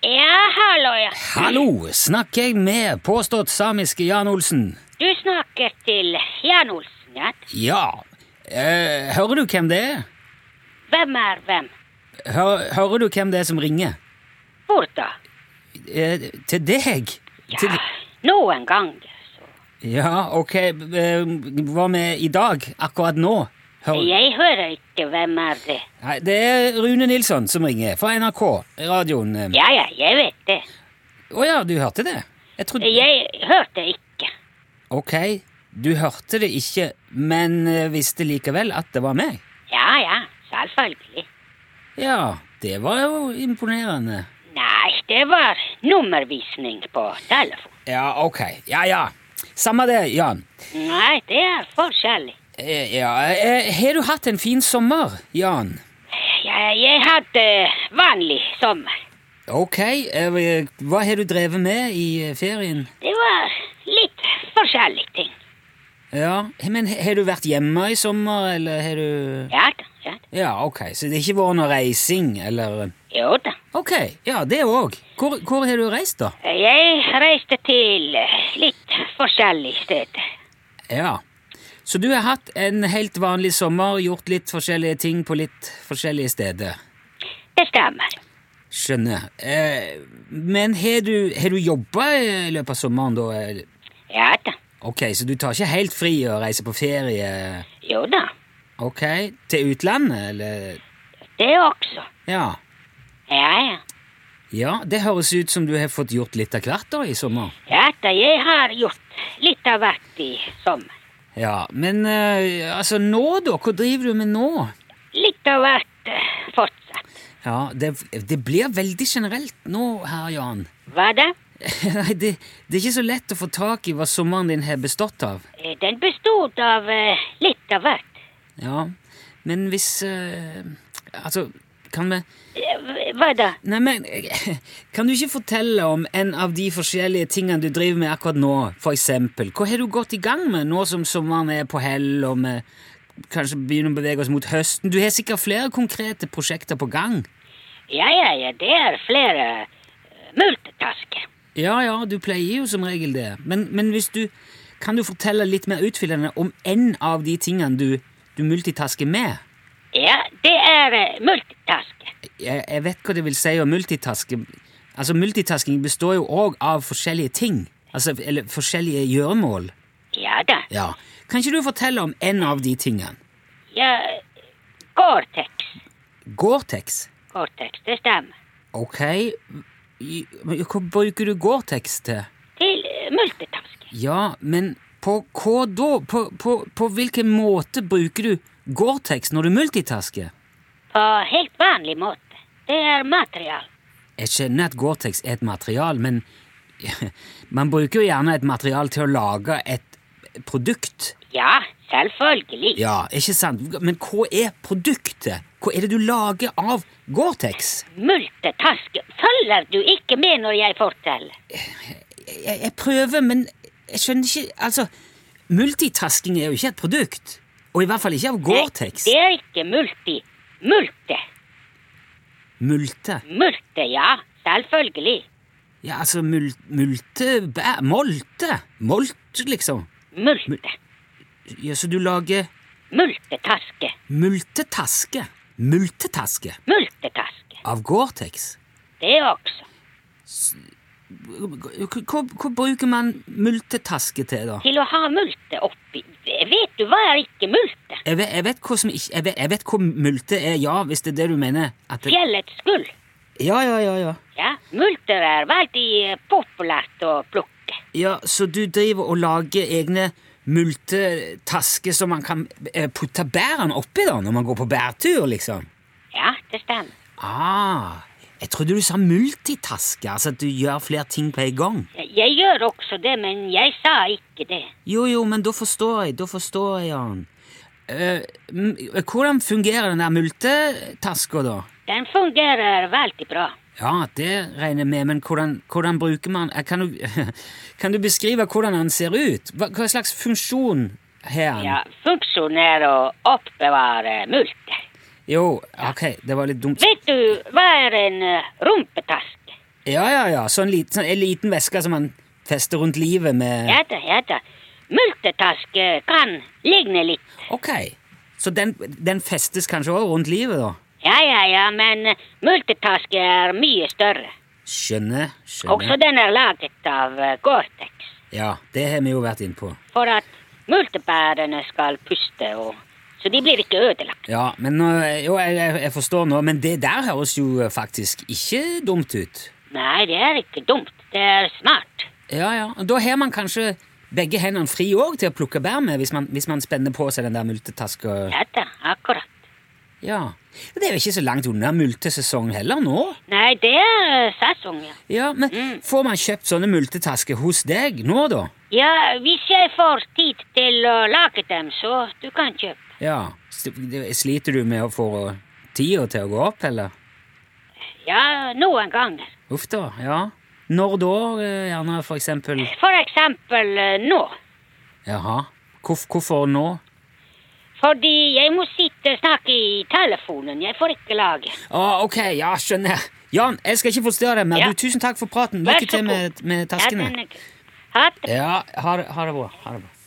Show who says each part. Speaker 1: Ja, hallo, ja.
Speaker 2: Hallo, snakker jeg med påstått samiske Jan Olsen?
Speaker 1: Du snakker til Jan Olsen, ja?
Speaker 2: Ja. Eh, hører du hvem det er?
Speaker 1: Hvem er hvem?
Speaker 2: Hø- hører du hvem det er som ringer?
Speaker 1: Hvor da?
Speaker 2: Eh, til deg? Til,
Speaker 1: Ja, noen ganger, så.
Speaker 2: ja, ok. Eh, hva med i dag? Akkurat nå? Hører-
Speaker 1: Jeg hører ikke hvem er det.
Speaker 2: Nei, det er Rune Nilsson som ringer, fra NRK, radioen. eh.
Speaker 1: Ja, ja, jeg vet det.
Speaker 2: Å ja, du hørte det? Jeg trodde
Speaker 1: Jeg hørte ikke.
Speaker 2: Ok, du hørte det ikke, men eh, visste likevel at det var meg?
Speaker 1: Ja, ja, selvfølgelig.
Speaker 2: Ja, det var jo imponerende.
Speaker 1: Nei, det var nummervisning på telefon.
Speaker 2: Ja, ok. Ja, ja. Samme det, Jan.
Speaker 1: Nei, det er forskjellig.
Speaker 2: Eh, Ja, eh, Har du hatt en fin sommer, Jan?
Speaker 1: Ja, jeg hadde vanlig sommer.
Speaker 2: Ok. eh, Hva har du drevet med i eh, ferien?
Speaker 1: Det var litt forskjellige ting.
Speaker 2: Ja, Men he- har du vært hjemme i sommer, eller har du
Speaker 1: Ja da, ja da.
Speaker 2: Ja, ok. Så det har ikke vært noe reising, eller
Speaker 1: Jo da.
Speaker 2: Ok, ja, det òg. Hvor, hvor har du reist, da?
Speaker 1: Jeg reiste til eh, litt forskjellige steder.
Speaker 2: Ja. Så du har hatt en helt vanlig sommer, gjort litt forskjellige ting på litt forskjellige steder?
Speaker 1: Det stemmer.
Speaker 2: Skjønner. Eh, men har du, har du jobba i løpet av sommeren, da? eller?
Speaker 1: Ja da.
Speaker 2: Ok, så du tar ikke helt fri og reiser på ferie?
Speaker 1: Jo da.
Speaker 2: Ok, til utlandet, eller?
Speaker 1: Det også.
Speaker 2: Ja.
Speaker 1: Ja, ja.
Speaker 2: Ja, det høres ut som du har fått gjort litt av hvert da i sommer.
Speaker 1: Ja da, jeg har gjort litt av hvert i sommer.
Speaker 2: Ja, men eh, altså nå, da? Hva driver du med nå?
Speaker 1: Litt av hvert eh, fortsatt.
Speaker 2: Ja, det, det blir veldig generelt nå her, Jan.
Speaker 1: Hva da?
Speaker 2: Nei, det, det er ikke så lett å få tak i hva sommeren din har bestått av.
Speaker 1: Eh, Den bestod av eh, litt av hvert.
Speaker 2: Ja, men hvis eh, Altså, kan vi
Speaker 1: Eh, Hva da?
Speaker 2: Nei, men eh, Kan du ikke fortelle om en av de forskjellige tingene du driver med akkurat nå? For eksempel, hva har du gått i gang med nå som sommeren er på hell, og vi kanskje begynner å bevege oss mot høsten? Du har sikkert flere konkrete prosjekter på gang.
Speaker 1: Ja, ja, ja, det er flere eh, multitasker.
Speaker 2: Ja, ja, du pleier jo som regel det. Men, men hvis du Kan du fortelle litt mer utfyllende om en av de tingene du, du multitasker med?
Speaker 1: Ja, det er eh, multitasker.
Speaker 2: jeg, jeg vet hva det vil si å multitaske. Altså, multitasking består jo òg av forskjellige ting. Altså, eller forskjellige gjøremål.
Speaker 1: Ja da.
Speaker 2: Ja. Kan ikke du fortelle om en av de tingene?
Speaker 1: Ja, eh, Gore-Tex.
Speaker 2: Gore-Tex.
Speaker 1: Gore-Tex, det stemmer.
Speaker 2: Ok. I- men Hva bruker du Gore-Tex til?
Speaker 1: Til eh, multitasking.
Speaker 2: Ja, men på hva da? På, på, på hvilken måte bruker du Gore-Tex når du multitasker?
Speaker 1: På helt vanlig måte. Det er material.
Speaker 2: Jeg skjønner at Gore-Tex er et material, men man bruker jo gjerne et material til å lage et produkt.
Speaker 1: Ja, selvfølgelig.
Speaker 2: Ja, ikke sant? Men hva er produktet? Hva er det du lager av Gore-Tex?
Speaker 1: Multitask. Følger du ikke med når jeg forteller?
Speaker 2: Jeg, jeg prøver, men jeg skjønner ikke Altså, multitasking er jo ikke et produkt. Og i hvert fall ikke av Gore-Tex.
Speaker 1: Det er ikke multi. Multe.
Speaker 2: Multe.
Speaker 1: Multe, ja. Selvfølgelig.
Speaker 2: Ja, altså mul multe bæ, Molte. Molt, liksom.
Speaker 1: Multe.
Speaker 2: Ja, så du lager
Speaker 1: Multetaske.
Speaker 2: multetaske. Multetaske
Speaker 1: Multetaske.
Speaker 2: av Gore-Tex.
Speaker 1: Det også.
Speaker 2: Hva hva- hva bruker man multetaske til, da?
Speaker 1: Til å ha multe oppi. Vet du hva er ikke multe?
Speaker 2: Jeg vet, jeg vet hva som ikke jeg vet, jeg vet hva multe er, ja, hvis det er det du mener. At det,
Speaker 1: Fjellets gull.
Speaker 2: ja, ja, ja, ja.
Speaker 1: Ja, multer er veldig eh, populært å plukke.
Speaker 2: Ja, Så du driver og lager egne multetasker som man kan eh, putte bærene oppi da, når man går på bærtur, liksom?
Speaker 1: Ja, det stemmer.
Speaker 2: Ah, jeg trodde du sa multitaske, altså at du gjør flere ting på en gang.
Speaker 1: Jeg gjør også det, men jeg sa ikke det.
Speaker 2: Jo, jo, men da forstår jeg, da forstår jeg, Jan. Eh, m- hvordan fungerer den der multetaska, da?
Speaker 1: Den fungerer veldig bra.
Speaker 2: Ja, det regner jeg med, men hvordan, hvordan bruker man eh, kan du, kan du beskrive hvordan han ser ut? Hva, hva slags funksjon har han?
Speaker 1: Ja, funksjonen er å oppbevare multer.
Speaker 2: Jo, ok, det var litt dumt.
Speaker 1: Vet du hva er en eh, rumpetaske?
Speaker 2: Ja, ja, ja. Sånn liten, sånn, en liten veske som man fester rundt livet med
Speaker 1: Ja da, ja da. Multitask eh, kan ligne litt.
Speaker 2: Ok. Så den, den festes kanskje også rundt livet, da?
Speaker 1: Ja, ja, ja, men eh, multitask er mye større.
Speaker 2: Skjønner.
Speaker 1: Også
Speaker 2: skjønner.
Speaker 1: den er laget av eh, Gore-Tex.
Speaker 2: Ja, det har vi jo vært inne på.
Speaker 1: For at multebærene skal puste, og, så de blir ikke ødelagt.
Speaker 2: Ja, men nå, jo, jeg, jeg jeg forstår nå, men det der høres jo eh, faktisk ikke dumt ut.
Speaker 1: Nei, det er ikke dumt. Det er smart.
Speaker 2: Ja, ja. Da har man kanskje begge hendene fri òg til å plukke bær med, hvis man, hvis man spenner på seg den der multetaska.
Speaker 1: Ja da, akkurat.
Speaker 2: Ja. Men Det er jo ikke så langt unna multesesong heller nå.
Speaker 1: Nei, det er eh, sesong, ja.
Speaker 2: Ja, men
Speaker 1: Mm.
Speaker 2: Får man kjøpt sånne multetasker hos deg nå, da?
Speaker 1: Ja, hvis jeg får tid til å lage dem, så du kan kjøpe.
Speaker 2: Ja. S- det- Sliter du med å få tida til å gå opp, eller?
Speaker 1: Ja, noen ganger.
Speaker 2: Uff da. Ja. Når da, eh, gjerne, for eksempel?
Speaker 1: For eksempel eh, nå.
Speaker 2: Jaha. Hvorf- hvorfor nå?
Speaker 1: Fordi jeg må sitte og snakke i telefonen. Jeg får ikke lage.
Speaker 2: Ah, ok, ja, skjønner. Jan, jeg skal ikke forstyrre deg mer.
Speaker 1: Ja.
Speaker 2: Du, tusen takk for praten.
Speaker 1: Vær
Speaker 2: Lykke
Speaker 1: så
Speaker 2: til med,
Speaker 1: god.
Speaker 2: med
Speaker 1: Ja,
Speaker 2: taskene.
Speaker 1: den er- Ha det.
Speaker 2: Ja, ha det, ha det bra. Ha det bra.